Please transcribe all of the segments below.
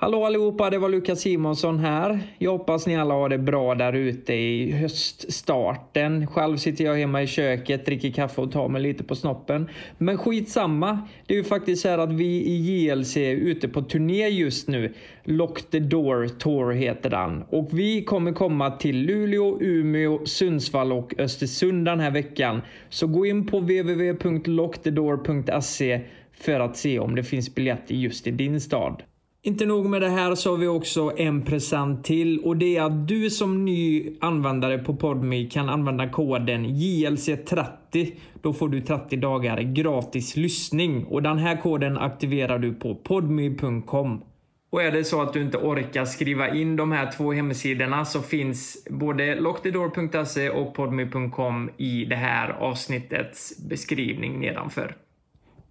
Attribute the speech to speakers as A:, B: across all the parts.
A: Hallå allihopa, det var Lukas Simonsson här. Jag hoppas ni alla har det bra där ute i höststarten. Själv sitter jag hemma i köket, dricker kaffe och tar mig lite på snoppen. Men skitsamma, det är ju faktiskt så här att vi i JLC är ute på turné just nu. Lock the Door Tour heter den. Och vi kommer komma till Luleå, Umeå, Sundsvall och Östersund den här veckan. Så gå in på www.lockthedoor.se E för att se om det finns biljetter just i din stad. Inte nog med det här så har vi också en present till och det är att du som ny användare på Podme kan använda koden JLC30. Då får du 30 dagar gratis lyssning och den här koden aktiverar du på podme.com. Och är det så att du inte orkar skriva in de här två hemsidorna så finns både lockthedoor.se och podme.com i det här avsnittets beskrivning nedanför.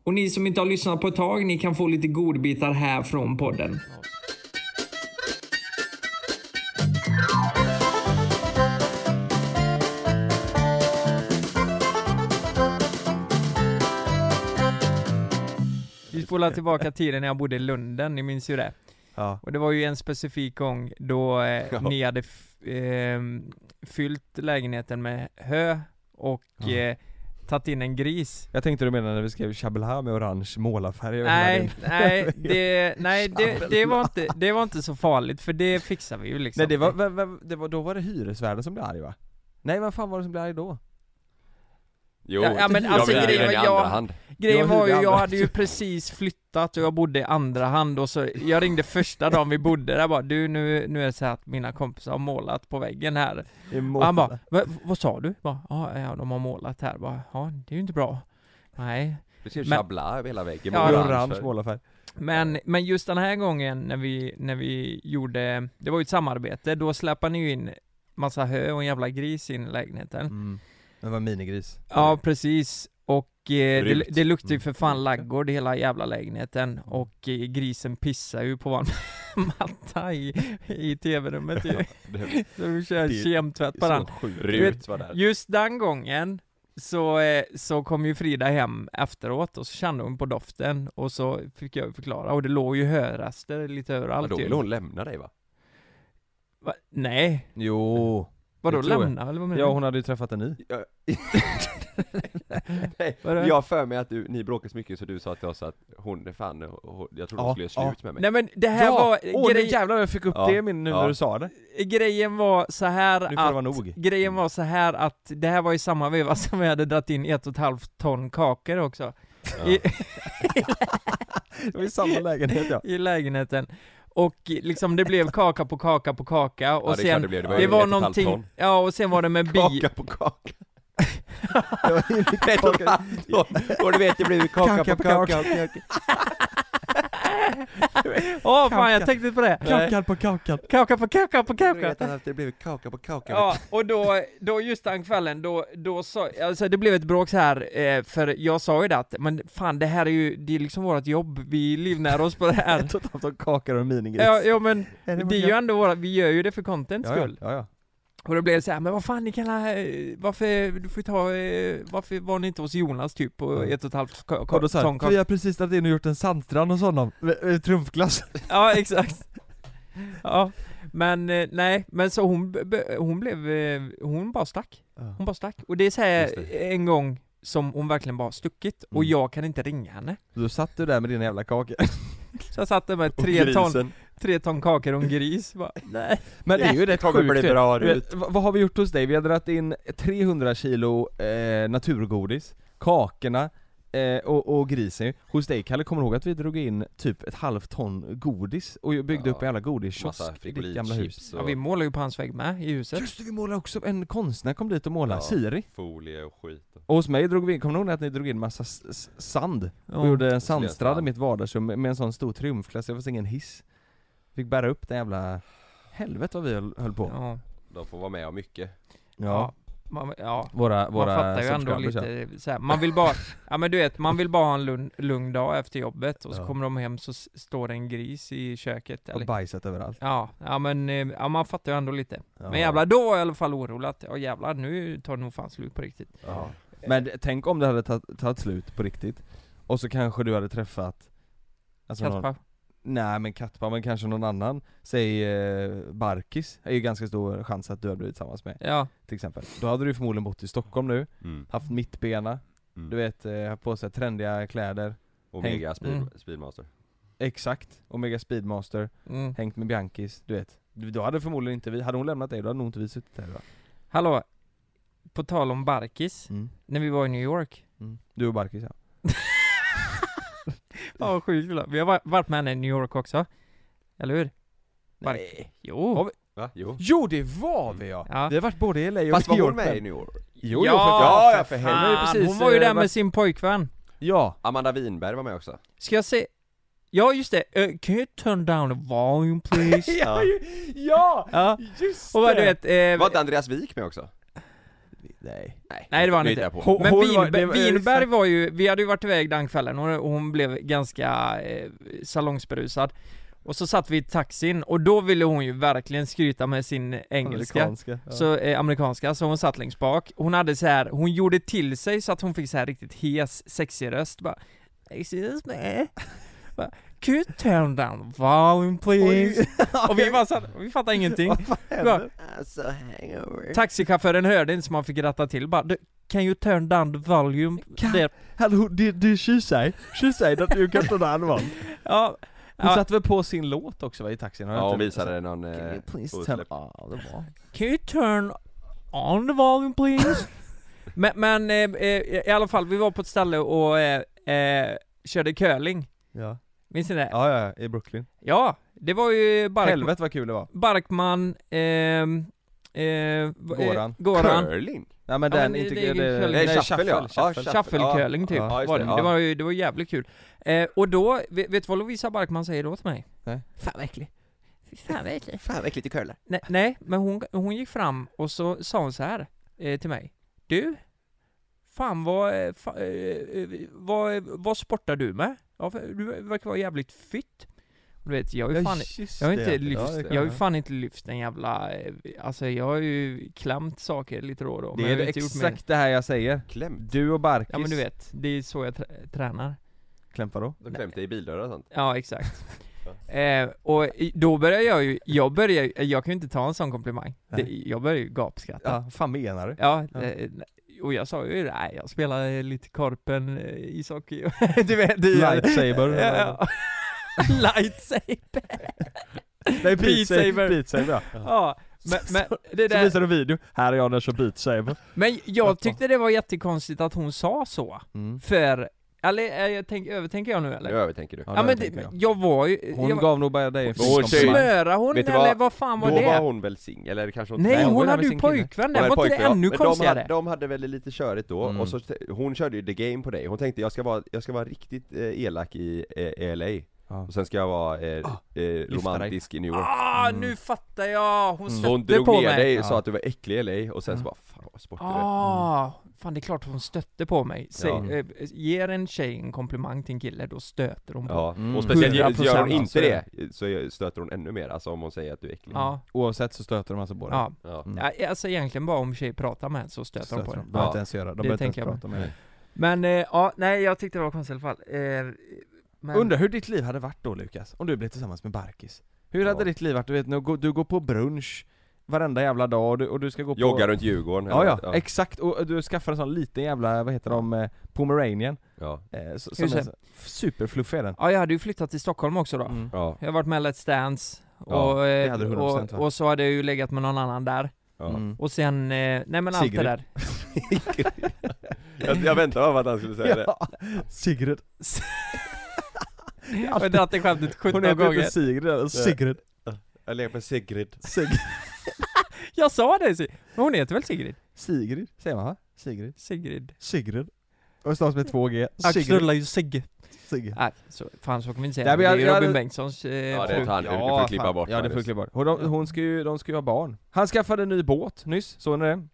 A: Och ni som inte har lyssnat på ett tag, ni kan få lite godbitar här från podden. Vi spolar tillbaka tiden när jag bodde i Lunden, ni minns ju det.
B: Ja.
A: Och det var ju en specifik gång då eh,
B: Ja.
A: ni hade f- ehm, fyllt lägenheten med hö och
B: Ja.
A: eh, tagit in en gris.
B: Jag tänkte du menade när vi skrev Chabla med orange målarfärg över hela
A: Nej,
B: din-
A: nej, det, nej det, det, var inte, det var inte så farligt för det fixar vi ju liksom
B: Nej det var, vem- vem- det var, då var det hyresvärden som blev arg va? Nej vem fan var det som blev arg då?
C: Jo,
A: Ja, ja, men alltså,
C: jag vill
A: grejen
C: hyra den i
A: var jag-
C: andra hand.
A: Grejen
B: det var
A: var ju,
B: hur det
A: jag
B: andra-
A: hade ju precis flyttat och jag bodde i andra hand och så Jag ringde första dagen vi bodde där bara Du nu, nu är det så här att mina kompisar har målat på väggen här
B: I
A: Och han bara, "Va, vad sa du? Bara, "Ja, ja de har målat här, bara, ja det är ju inte bra Nej
C: Du ska
A: Men-
C: chabla över hela väggen
A: Ja,
B: I
A: ja.
B: orange målarfärg.
A: Men, men just den här gången när vi, när vi gjorde, det var ju ett samarbete, då släpade ni ju in massa hö och en jävla gris in i lägenheten
B: Mm. Det var minigris.
A: Ja precis, och eh, det,
C: Grymt.
A: det luktar ju för fan
B: Mm.
A: laggård i hela jävla lägenheten och eh, grisen pissar ju på vår matta i, i tv-rummet ju.
C: Det-
A: Så vi kör
B: Det-
A: kemtvätt på den.
B: sjukt.
C: Rut var där.
A: Just den gången så, eh, så kom ju Frida hem efteråt och så kände hon på doften och så fick jag förklara och det låg ju hörraster lite
C: Ja,
A: överallt
C: då
A: ju.
C: vill hon lämna dig va?
A: Va? Nej,
B: Jo.
A: vadå
B: tror jag.
A: lämna eller vad menar
B: Ja
A: du?
B: hon hade ju träffat en ny.
C: Nej,
A: Vadå?
C: jag har för mig att du, ni bråkade så mycket så du sa till oss att hon, fan, hon, jag trodde hon
B: Ja,
C: skulle göra
B: ja.
C: slut med mig
A: Nej men det här var,
B: Åh nu
A: grej,
B: jävlar vad jag fick upp
C: Ja.
B: det i min nu
C: Ja.
B: när du sa det.
A: grejen var så här
B: Nu får
A: att
B: det vara nog.
A: Grejen var så här att det här var i samma veva som vi hade dragit in ett och ett halvt ton kakor också i,
B: Det var i samma lägenhet ja.
A: i lägenheten Och liksom det blev kaka på kaka på kaka och
C: Ja, det är klart
A: sen
C: det blev, det var ju
A: det var
C: ett och ett halvt
A: någonting,
C: ton.
A: ja och sen var det med bi
C: Kaka på kaka
B: Det var ju mycket
C: Ett och
B: kakor.
C: ett halvt år. Och du vet det blev kaka, på kaka,
A: Åh fan jag
B: Kaka.
A: tänkte på det!
B: Kakan på kakan.
A: Kaka på kaka på
C: Du
A: kaka!
C: vet att det blev kaka på kaka
A: Ja, och då, då just den kvällen, då, då sa, alltså det blev ett bråk så här eh, för jag sa ju det att, men fan det här är ju, det är liksom vårt jobb, vi livnär oss på det här
B: Ett och ett halvt av kakor och en minigris.
A: Ja, ja men
B: Är det
A: det är ju ändå våra, vi gör ju det för contents
B: ja, ja,
A: skull
B: ja, ja.
A: Och då blev det så här, men vad fan ni kan ha, eh, varför, du får ju ta, eh, varför var ni inte hos Jonas typ på
B: Ja.
A: ett och ett halvt ka-
B: Och då
A: ka-
B: sa
A: ton
B: han,
A: kaka?
B: vi har precis dragit in och gjort en sandstrand hos honom, med- med trumfglass.
A: Ja exakt Ja, men eh, nej, men så hon, b- b- hon blev, eh, hon bara stack, hon bara stack Och det är så här
B: Just
A: en gång som hon verkligen bara stuckit och
B: Mm.
A: jag kan inte ringa henne
B: Då satt du där med dina jävla kakor.
A: Så jag satt där med tre ton, tre ton kakor och en gris bara, nej
B: Men det är ju rätt
C: kommer
B: sjukt.
C: bli
B: för-
C: bra,
B: du
C: Rut.
B: vet, vad, vad har vi gjort hos dig? Vi har dragit in 300 kilo eh, naturgodis, kakorna eh, och, och grisen ju. Hos dig Kalle, kommer du ihåg att vi drog in typ ett halvt ton godis och byggde
C: Ja.
B: upp en jävla
C: Massa
B: godiskiosk i ditt gamla hus?
C: frigolit-chips
A: ja,
C: och
A: vi målar ju på hans vägg med i huset
B: Just det, vi målade också, en konstnär kom dit och målade,
C: Ja.
B: Siri.
C: folie och skit
B: Och hos mig drog vi in, kommer du ihåg att ni drog in massa s- s- sand?
A: Ja.
B: Och gjorde en
C: Isolerad
B: sandstrand i
C: sand.
B: mitt vardagsrum med med en sån stor triumfklass, det fanns ingen hiss Fick bära upp den jävla Helvete vad vi höll höll på Ja,
A: Ja,
C: De får vara med om mycket
A: ja. Man, ja.
B: Våra,
A: Man
B: våra
A: fattar ju ändå
B: subscribers, ja.
A: lite så här. man vill bara, ja men du vet, man vill bara ha en lugn, lugn dag efter jobbet och så
B: Ja.
A: kommer de hem så s- står det en gris i köket
B: Och
A: eller,
B: bajsat överallt
A: ja, ja men, eh, ja man fattar ju ändå lite.
B: ja.
A: Men jävlar, då var jag i alla fall orolig att, ja jävlar nu tar det nog fan slut på riktigt.
B: ja. Men d- tänk om det hade tagit- tagit slut på riktigt Och så kanske du hade träffat Alltså någon,
A: Kaspar,
B: nej men kattpammen kanske någon annan, säg eh, Barkis, är ju ganska stor chans att du har blivit tillsammans med
A: Ja,
B: till exempel. Då hade du förmodligen bott i Stockholm nu,
C: Mm.
B: haft mittbena,
C: Mm.
B: du vet, eh, haft på sig trendiga kläder,
C: Omega speed,
A: Mm.
C: Speedmaster.
B: exakt, Omega Speedmaster,
A: mm.
B: hängt med Bianchis, du vet. Du- Då hade förmodligen inte vi, hade hon lämnat dig då hade nog inte vi suttit här idag.
A: Hallå, på tal om Barkis,
B: Mm.
A: när vi var i New York
B: Mm. Du och Barkis ja.
A: Ja, vad sjukt kul. Vi har va- varit med henne i New York också. Eller hur? Bark-
B: Nej.
A: Jo.
B: Har vi-
C: Va? Jo.
B: Jo det var vi ja!
A: Ja.
B: Vi har varit både i LA och
C: Fast
B: New
C: var
B: York.
C: hon med i
B: men-
C: New York?
B: Jo,
A: Ja,
B: jo för,
C: ja, ja,
B: ja, för
C: för
B: henne. har ju
A: Fan,
B: precis,
A: Ah, hon var ju
B: eh,
A: där med
B: varit-
A: sin pojkvän.
B: Ja.
C: Amanda Winberg var med också.
A: Ska jag se? Ja, just det. Eh, can you turn down the volume please?
C: Ja.
B: ju- ja!
A: ja.
B: Just
A: Och vad du vet... Eh,
C: Var inte Andreas Wik med också?
B: Nej.
A: Nej det var han
C: nu hittar
A: inte.
C: jag på.
B: Hon-
A: Men
B: var-
A: Winberg,
B: det var-
A: Winberg
B: exakt.
A: var ju, vi hade ju varit iväg den kvällen och hon blev ganska eh, salongsberusad. Och så satt vi i taxin och då ville hon ju verkligen skryta med sin engelska.
B: Amerikanska. Ja.
A: Så, eh, amerikanska, så hon satt längst bak. Hon hade så här, hon gjorde till sig så att hon fick så här riktigt hes, sexig röst bara Excuse me? Bara, Can you turn down the volume please? och vi bara satt, och vi fattade ingenting. Bara,
B: Alltså,
A: Taxichauffören hörde inte så man fick ratta till bara "Du, Can you turn down the volume?
B: Kan-
A: Där."
B: Hallå, did, did she say? She said that you can't turn one. Hon
A: Ja, ja.
B: satte väl på sin låt också va, i taxin? har jag
C: Ja,
A: typ.
C: hon
B: inte-
C: visade någon...
B: Can
C: Eh,
B: you please turn...
C: utsläpp.
B: Ja, det var...
A: Can you turn on the volume please? men men eh, eh, i alla fall, vi var på ett ställe och eh, eh, körde curling.
B: Ja.
A: Minns ni det?
B: ja, ja, i Brooklyn.
A: Ja, det var ju Bark
B: Helvete vad kul det var.
A: Barkman, ehm, eh, vad- eh,
B: Goran.
A: Goran.
C: Curling?
B: Nej men
A: Ja, men
B: den,
A: det-
B: inte...
A: det är
B: Det,
A: ingen curling.
C: Nej,
B: nej,
C: shuffle, ja. Ja,
B: shuffle.
A: Shufflecurling typ,
B: Ja,
C: ja, just
A: var det.
C: det,
A: Det,
C: ja.
A: var ju, det var jävligt kul. Eh, och då, vet, vet du vad Lovisa Barkman säger då till mig?
B: Nej.
A: Fan vad äcklig. Fy Fan vad äcklig.
C: Fan vad äckligt i curlar.
A: Nej, nej, men hon, hon gick fram och så sa hon så här eh, till mig. Du, fan vad, eh, fa, eh, eh, vad, vad sportar du med? Ja, för du verkar vara jävligt fit. Du vet, jag är ju
B: Ja,
A: fan
B: just
A: Jag har inte
B: det.
A: lyft,
B: Ja, det kan
A: jag har ju
B: jag.
A: fan inte lyft en jävla, eh, alltså jag har ju klämt saker lite då och då
B: Det
A: men jag
B: är
A: har
B: det
A: inte gjort mer.
B: exakt det här jag säger.
C: Klämt?
B: Du och Barkis.
A: Ja men du vet, det är så jag trä- tränar
B: Klämt vadå?
C: De klämde i bildörrar och sånt.
A: Ja exakt eh, Och i- då börjar jag ju, jag börjar ju- jag kan ju inte ta en sån komplimang det,
B: Nej.
A: Jag börjar ju gapskratta
B: Ja, vad fan menar du?
A: Ja,
B: Ja.
A: eh, och jag sa ju nej, jag spelar eh, lite korpen, eh, ishockey, du vet det
B: Lightsaber.
A: Ja, ja. Lightsaber!
B: Nej,
A: Beat
B: Beat Saber.
A: Saber.
B: Beat Saber ja.
A: Ja, men, men det
B: Så
A: där
B: visar du video, här är jag när jag kör Beat Saber.
A: Men jag tyckte det var jättekonstigt att hon sa så,
B: Mm.
A: för, eller är jag tänk, övertänker jag nu eller?
C: Nu övertänker du.
A: ja,
B: det
A: men
B: tänker
A: det,
B: jag.
A: jag var ju...
B: Hon
A: jag var,
B: gav nog bara dig en
C: Hon
B: fisk om
C: säger-
B: sommaren.
A: smöra hon
C: Vet du
A: eller
C: vad?
A: vad fan var
C: Då
A: det?
C: var hon väl singel, eller kanske hon
A: Nej
B: Nej,
A: hon,
B: hon
A: hade
B: med
A: ju
B: sin kille.
A: pojkvän
C: Hon
A: där,
C: hade
A: var inte det
C: pojkvän, ja.
A: ännu
C: Men
A: konstigare?
C: De hade, de hade väl lite körigt då,
B: Mm.
C: och så, hon körde ju the game på dig, hon tänkte jag ska vara, jag ska vara riktigt eh, elak i eh, LA,
B: Ja.
C: och sen ska jag vara eh, eh, romantisk i New York
A: Ah,
B: Mm.
A: nu fattar jag! Hon
B: Mm.
C: Så hon
A: stötte
C: drog
A: Ah, på
C: ner
A: mig! Mm.
C: dig och
B: Ja.
C: sa att du var äcklig i LA, och sen så bara fan vad sportig du är
A: Ah, fan det är klart hon stötte på mig. Säg,
C: Ja.
A: eh, ger en tjej en komplimang till en kille, då stöter hon på mig.
C: Ja,
B: Mm. alltså
C: och speciellt gör
A: 100%,
C: hon
B: så
C: inte
B: är
C: det, så stöter hon ännu mer, alltså om hon säger att du är äcklig
A: Ja,
B: Oavsett så stöter de alltså på dig.
A: ja.
C: Ja.
B: Mm.
A: Ja, Alltså egentligen bara om tjejer pratar med en så stöter,
B: Stöter
A: de på
B: de.
A: en.
B: De
C: Ja.
B: behöver inte ens göra, de
A: Det
B: behöver inte
A: tänker
B: ens
A: jag
B: prata med dig.
A: Men eh, ja, nej jag tyckte det var konstigt i alla fall. Eh, men...
B: Undrar hur ditt liv hade varit då Lukas, om du blev tillsammans med Barkis? Hur
C: Ja.
B: hade ditt liv varit? Du vet, nu går- du går på brunch varenda jävla dag och du, och du ska gå på...
C: Jogga runt Djurgården
B: Ja,
C: eller-
B: ja, exakt. Och du skaffar en sån liten jävla, vad heter de, eh, pomeranian.
C: ja.
B: Eh, så-
A: Just
B: Som är
A: det.
B: så- superfluffig är den.
A: Ja, jag hade ju flyttat till Stockholm också då.
B: Mm.
C: Ja,
A: Jag har varit med i Let's Dance, och,
C: Ja,
A: eh,
B: hade du 100%
A: och,
B: va?
A: och så hade jag ju legat med någon annan där.
C: ja.
B: Mm.
A: Och sen, eh, nej men allt
B: Sigrid.
A: det där.
C: Jag, jag väntade bara på att han skulle säga det
B: Ja, Sigrid.
A: Jag har dragit det skämtet 17
B: Hon heter
A: gånger.
B: inte Sigrid, eller Sigrid.
C: Jag leker med Sigrid
B: Sig-
A: Jag sa det! Sig- Men hon heter väl Sigrid?
B: Sigrid, säger man va? Sigrid.
A: Sigrid.
B: Sigrid. Och stavas med 2G. Sigrid.
A: Axel är ju Sigge.
B: Sigrid.
A: Nej, så, fan så kan vi inte säga.
B: Nej, men jag-
A: det är ju
B: jag-
A: Robin Bengtssons eh,
C: Ja, det
A: fru.
C: tar han, det får du klippa
B: fan.
C: bort
B: Ja det får du
C: Magnus.
B: klippa bort. Och de, hon ska ju, de ska ju ha barn. Han skaffade en ny båt nyss, såg ni det?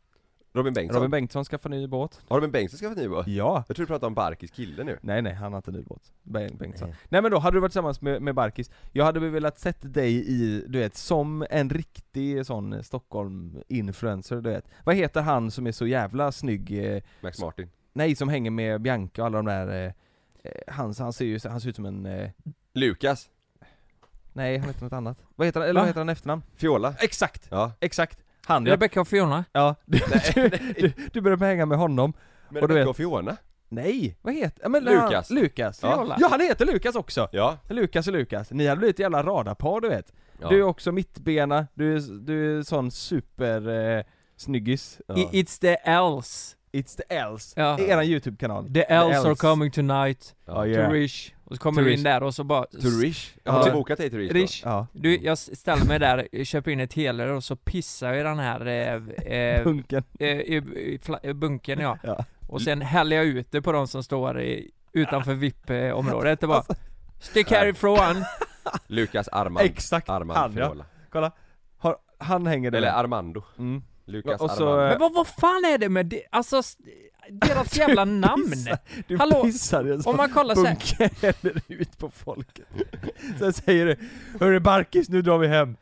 C: Robin Bengtsson,
B: Robin Bengtsson skaffade en ny båt.
C: har Robin Bengtsson skaffat ny båt?
B: Ja.
C: Jag tror du pratar om Barkis kille nu
B: Nej nej, han har inte en ny båt. Beng- Bengtsson.
C: Nej.
B: Nej. men då, hade du varit tillsammans med, med Barkis, jag hade väl velat sett dig i, du vet, som en riktig sån eh, Stockholm-influencer, du vet. Vad heter han som är så jävla snygg, eh,
C: Max Martin
B: nej som hänger med Bianca och alla de där, eh, eh, han, han ser ju, han ser ut som en eh,
C: Lukas
B: Nej, han heter något annat. Vad heter han, eller
A: Va?
B: vad heter han i efternamn?
C: Fiola?
B: Exakt!
C: Ja.
B: Exakt! Han ja.
A: Rebecca och Fiona?
B: ja. Du, du, du, du började hänga med honom.
C: Men
B: Och du
C: Rebecca och Fiona?
B: Nej, vad heter ja, men
C: Lukas.
B: Han, Lukas.
A: Fiola.
B: Ja. ja, han heter Lukas också!
C: Ja.
B: Lukas och Lukas, ni hade blivit ett jävla radarpar du vet.
C: ja.
B: Du är också mittbena, du är, du är sån super eh, snyggis.
A: I, it's the Ls.
B: It's the Ls.
A: Ja.
B: I eran YouTube-kanal.
A: The Ls are
B: Ls.
A: coming tonight.
B: Ja,
C: Ja.
B: yeah.
A: To Rish. Och så kommer
B: To
A: vi in
B: Rish.
A: där och så bara...
C: To Rish? Jag
B: Ja.
C: har bokat dig till Rish då.
A: Rish.
B: Ja.
A: Du, jag s- ställer mig där, köper in ett helrör och så pissar jag i den här eh, eh,
B: Punken.
A: eh, i, i, fla- i bunken ja.
B: Ja.
A: Och sen häller jag ut det på de som står i, utanför VIP-området. Det
B: Alltså.
A: bara Stick härifrån!
C: Lukas Armand.
B: Exakt,
C: Armand
B: han, ja.
C: Fiola.
B: Kolla. Har, han hänger där.
C: Eller Armando.
B: mm.
C: Lukas
B: Och så,
C: Armando.
A: Men vad, vad fan är det med det? Alltså, s- deras jävla namn!
B: pissar. Du
A: Hallå,
B: pissar i en
A: Om
B: sån
A: man kollar så här,
B: bunke häller ut på folket. Sen säger du 'Hörru Barkis, nu drar vi hem'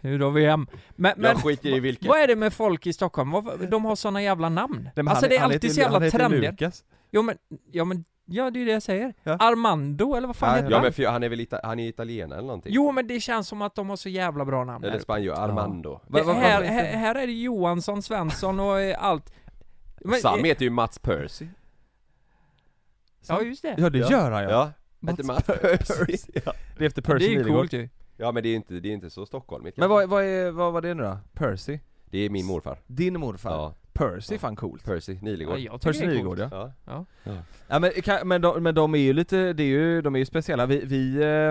A: nu drar vi hem. Men, men
C: jag skiter i vilken.
A: vad är det med folk i Stockholm? Vad- De har såna jävla namn.
B: Nej, men
A: alltså
B: han-
A: det är
B: han
A: alltid
B: heter-
A: så jävla
B: han heter
A: trendigt.
B: Lukas.
A: Jo men, ja men, ja det är ju det jag säger.
B: Ja.
A: Armando eller vad fan
B: Ja,
A: heter
C: Ja
A: han?
C: men Fio- han är väl ita- han är italienare eller någonting?
A: Jo men det känns som att de har så jävla bra namn.
C: Eller
A: här.
C: spanjor, Armando.
B: Vad-
A: Det,
B: vad-
A: här,
B: vad-
A: här, här är det Johansson, Svensson och eh, allt. Men-
C: Sam heter ju Mats Percy.
A: Ja just det.
B: Ja det
C: Ja.
B: gör han ja.
C: Ja.
B: Mats
C: Heter Mats Percy. Ja.
B: Det är efter Percy
A: det är ju
B: Nilegård.
A: coolt ju.
C: Ja men det är inte, det är inte så stockholmigt
B: Men vad, vad, är, vad var det nu då? Percy?
C: Det är min morfar.
B: Din morfar?
C: Ja.
B: Percy är fan coolt.
C: Percy
A: Ja,
C: Nilegård.
A: jag tycker
B: Percy
A: det är coolt.
B: Nilegård ja.
C: Ja.
B: ja men, kan, men, de, men de är ju lite, det är ju, de är ju speciella. Vi, vi eh,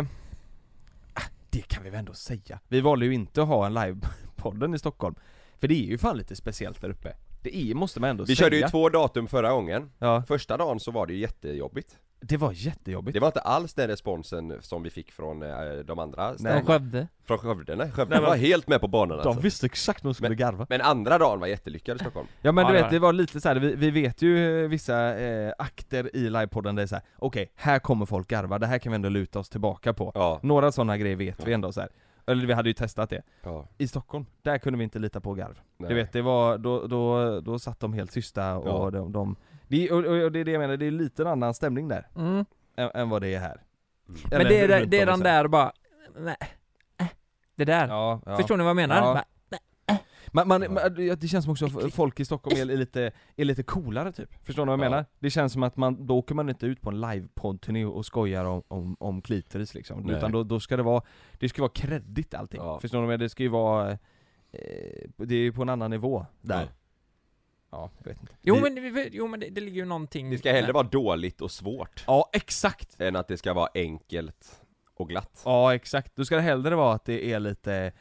B: ah, det kan vi väl ändå säga. Vi valde ju inte att ha en livepodden i Stockholm. För det är ju fan lite speciellt där uppe. Det är, måste man ändå
C: Vi
B: säga.
C: körde ju två datum förra gången.
B: Ja,
C: Första dagen så var det ju jättejobbigt.
B: det var jättejobbigt.
C: Det var inte alls den responsen som vi fick från eh, de andra
A: Från
C: städerna.
A: Skövde.
C: Från Skövde, nej. Skövde var helt med på banan alltså.
B: visste exakt när de
C: skulle
B: garva.
C: Men andra dagen var jättelyckad i Stockholm.
B: Ja men
A: Ja,
B: du
A: det
B: vet,
A: var
B: det var lite så här. Vi, vi vet ju eh, vissa eh, akter i livepodden där det är så här. okej, här kommer folk garva, det här kan vi ändå luta oss tillbaka på.
C: Ja.
B: Några sådana grejer vet vi ändå så här. Eller vi hade ju testat det.
C: ja
B: I Stockholm, där kunde vi inte lita på garv.
C: nej.
B: Du vet, det var, då, då, då satt de helt tysta och
C: Ja.
B: de, de det, är- och, och, och det är det jag menar, det är lite en annan stämning där,
A: Mm.
B: än, än vad det är här.
C: Mm.
A: Men
B: Eller
A: det är,
B: runt
A: det är
B: om i
A: den
B: Sverige.
A: där bara, nej, äh, det där.
B: Ja, ja.
A: Förstår ni vad jag menar?
B: Ja.
A: Nej.
B: Man, man, man, det känns som också att folk i Stockholm är lite, är lite coolare typ, förstår ni vad jag
C: Ja.
B: menar? Det känns som att man, då åker man inte ut på en livepodd-turné och skojar om, om, om klitoris liksom,
C: Nej.
B: utan då, då ska det vara, det ska vara kreddigt allting,
C: Ja.
B: förstår ni vad jag menar? Det ska ju vara, eh, det är ju på en annan nivå där.
C: Ja.
B: Ja, jag vet inte.
A: Jo
B: Vi-
A: men, vi- jo, men det, det ligger ju någonting...
C: Det ska hellre vara dåligt och svårt,
B: Ja, exakt!
C: än att det ska vara enkelt och glatt.
B: Ja, exakt. Då ska det hellre vara att det är lite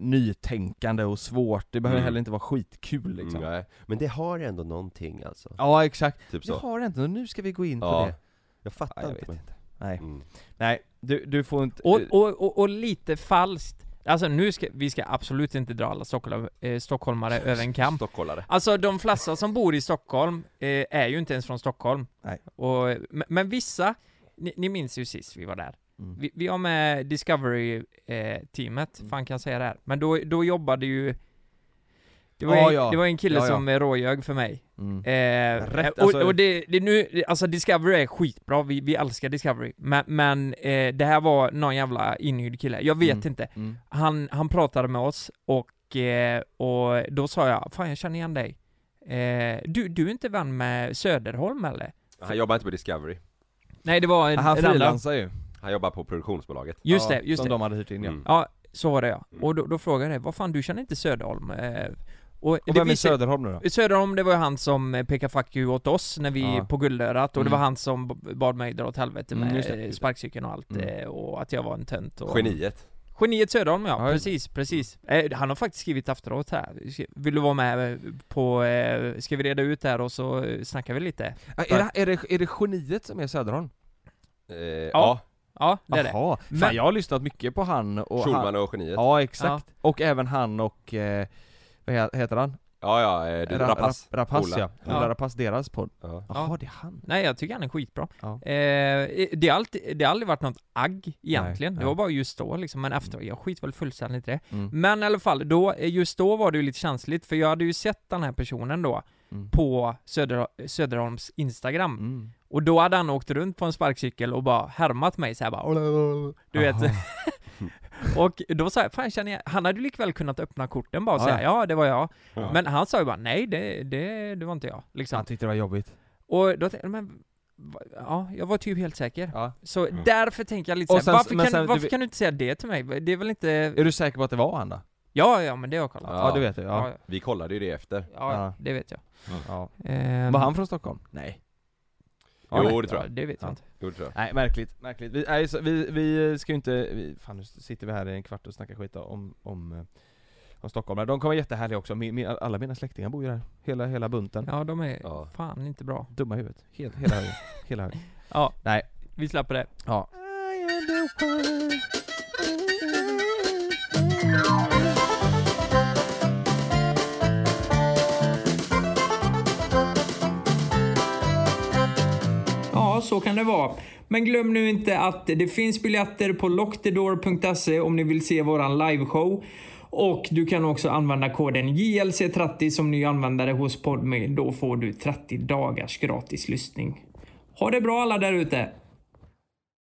B: nytänkande och svårt, det behöver
C: Mm.
B: heller inte vara skitkul liksom.
C: Mm, nej. Men det har ändå någonting alltså.
B: Ja, exakt.
C: Typ
B: Jag
C: så.
B: har inte, nu ska vi gå in på
C: Ja.
B: det.
C: Jag
B: Ja,
C: fattar
B: jag vet
C: inte.
B: inte. Nej.
C: Mm.
B: Nej, du, du får inte...
A: Och, och, och, och lite falskt. Alltså nu ska, vi ska absolut inte dra alla Stockholm, eh, stockholmare över en kam.
C: Stockholmare.
A: Alltså de flesta som bor i Stockholm eh, är ju inte ens från Stockholm.
B: Nej.
A: Och, men, men vissa, ni, ni minns ju sist vi var där.
B: Mm.
A: Vi, vi har med Discovery-teamet, fan kan jag säga det här. Men då, då jobbade ju det var,
B: Ja,
A: en,
B: ja.
A: det var en kille
B: Ja, ja.
A: som eh, råljög för mig.
B: Mm.
A: Eh,
B: Rätt,
A: och,
B: alltså-
A: och det, det nu, alltså Discovery är skitbra, vi, vi älskar Discovery. Men, men eh, det här var någon jävla inhyrd kille, jag vet
B: Mm.
A: inte.
B: Mm.
A: Han, han pratade med oss och, eh, och då sa jag, fan jag känner igen dig. Eh, du, du är inte vän med Söderholm eller?
C: Han jobbar inte på Discovery.
A: Nej det var en,
B: Han
A: en annan.
B: frilansar ju.
C: Han jobbar på produktionsbolaget.
A: Just
B: Ja,
A: det, just
B: Som
A: det.
B: de hade hyrt in ja.
C: Mm.
A: Ja, så var det ja.
C: Mm.
A: Och då, då frågade jag, vad fan du känner inte Söderholm? Eh, och
B: Och
A: det
B: vem är
A: visade-
B: Söderholm nu då?
A: Söderholm, det var ju han som eh, pekade fuck you åt oss när vi
B: Ja.
A: på Guldörat och det var
B: Mm.
A: han som b- bad mig dra åt helvete
B: Mm,
A: med
B: just det,
A: eh,
B: just det.
A: sparkcykeln och allt
B: Mm.
A: eh, och att jag var en tönt och...
C: Geniet.
A: Geniet Söderholm ja,
B: Ja, just det.
A: precis, precis. Eh, han har faktiskt skrivit efteråt här. Vill du vara med eh, på, eh, ska vi reda ut det här och så eh, snackar vi lite?
B: Ja, är, det, är, det, är det geniet som är Söderholm?
C: Eh, ja,
A: Ja, det är det.
B: Jaha,
A: Men-
B: fan jag har lyssnat mycket på han och han.
C: Schulman och Geniet. Ja,
B: Ja exakt, och även han och, eh, vad he- heter han?
C: ja, eh,
B: Ra-
C: det, Rapace.
B: Ra- Rapace
C: Ola.
B: ja,
A: Ja.
B: Ola Rapace, deras podd.
C: Ja.
B: Jaha
A: Ja.
B: det är han.
A: Nej jag tycker han är skitbra.
B: Ja.
A: Eh, det, har alltid, det har aldrig varit något agg egentligen,
B: Nej,
A: det
B: nej.
A: var bara just då liksom, men efter, jag skit väl fullständigt i det.
B: Mm.
A: Men i alla fall, då, eh, just då var det ju lite känsligt för jag hade ju sett den här personen då
B: Mm.
A: på Söder, Söderholms Instagram
B: Mm.
A: och då hade han åkt runt på en sparkcykel och bara härmat mig så här bara Du vet,
B: Aha.
A: Och då sa jag, fan känner jag, han hade ju likväl kunnat öppna korten bara och
B: Ja,
A: säga ja, det var jag.
C: Ja.
A: Men han sa ju bara nej, det, det, det var inte jag. Liksom.
B: Han tyckte det var jobbigt.
A: Och då tänkte jag, men va- ja, jag var typ helt säker.
B: Ja.
A: Så
C: Mm.
A: därför tänker jag lite
B: Och
A: såhär,
B: sen-
A: varför,
B: men
A: kan,
B: sen-
A: varför
B: du-
A: kan du inte säga det till mig? Det är väl inte...
B: Är du säker på att det var han då?
A: Ja, ja, men det har jag kollat.
B: Ja, du vet det. Ja.
A: ja,
C: Vi kollade ju det efter.
A: ja,
B: Ja.
A: det vet jag.
B: Ja.
A: Ehm,
B: Var han från Stockholm? Nej.
C: Jo,
B: nej.
C: det tror jag.
A: Ja, det vet jag
B: Ja.
A: inte.
C: Jo, det tror jag.
B: Nej, märkligt, märkligt. Vi, nej, så, vi, vi ska ju inte, vi, fan nu sitter vi här i en kvart och snackar skit om, om, eh, om Stockholm. De kommer vara jättehärliga också, min, min, alla mina släktingar bor ju där. Hela, hela bunten.
A: Ja, de är
C: Ja.
A: fan inte bra.
B: Dumma i huvudet. Helt, hela högen. hela högen.
A: Ja,
B: Nej.
A: vi släpper det.
B: Ja.
D: Ja, så kan det vara. Men glöm nu inte att det finns biljetter på lockthedoor.se om ni vill se våran liveshow. Och du kan också använda koden JLC30 som ny användare hos Podme. Då får du 30 dagars gratis lyssning. Ha det bra alla där ute!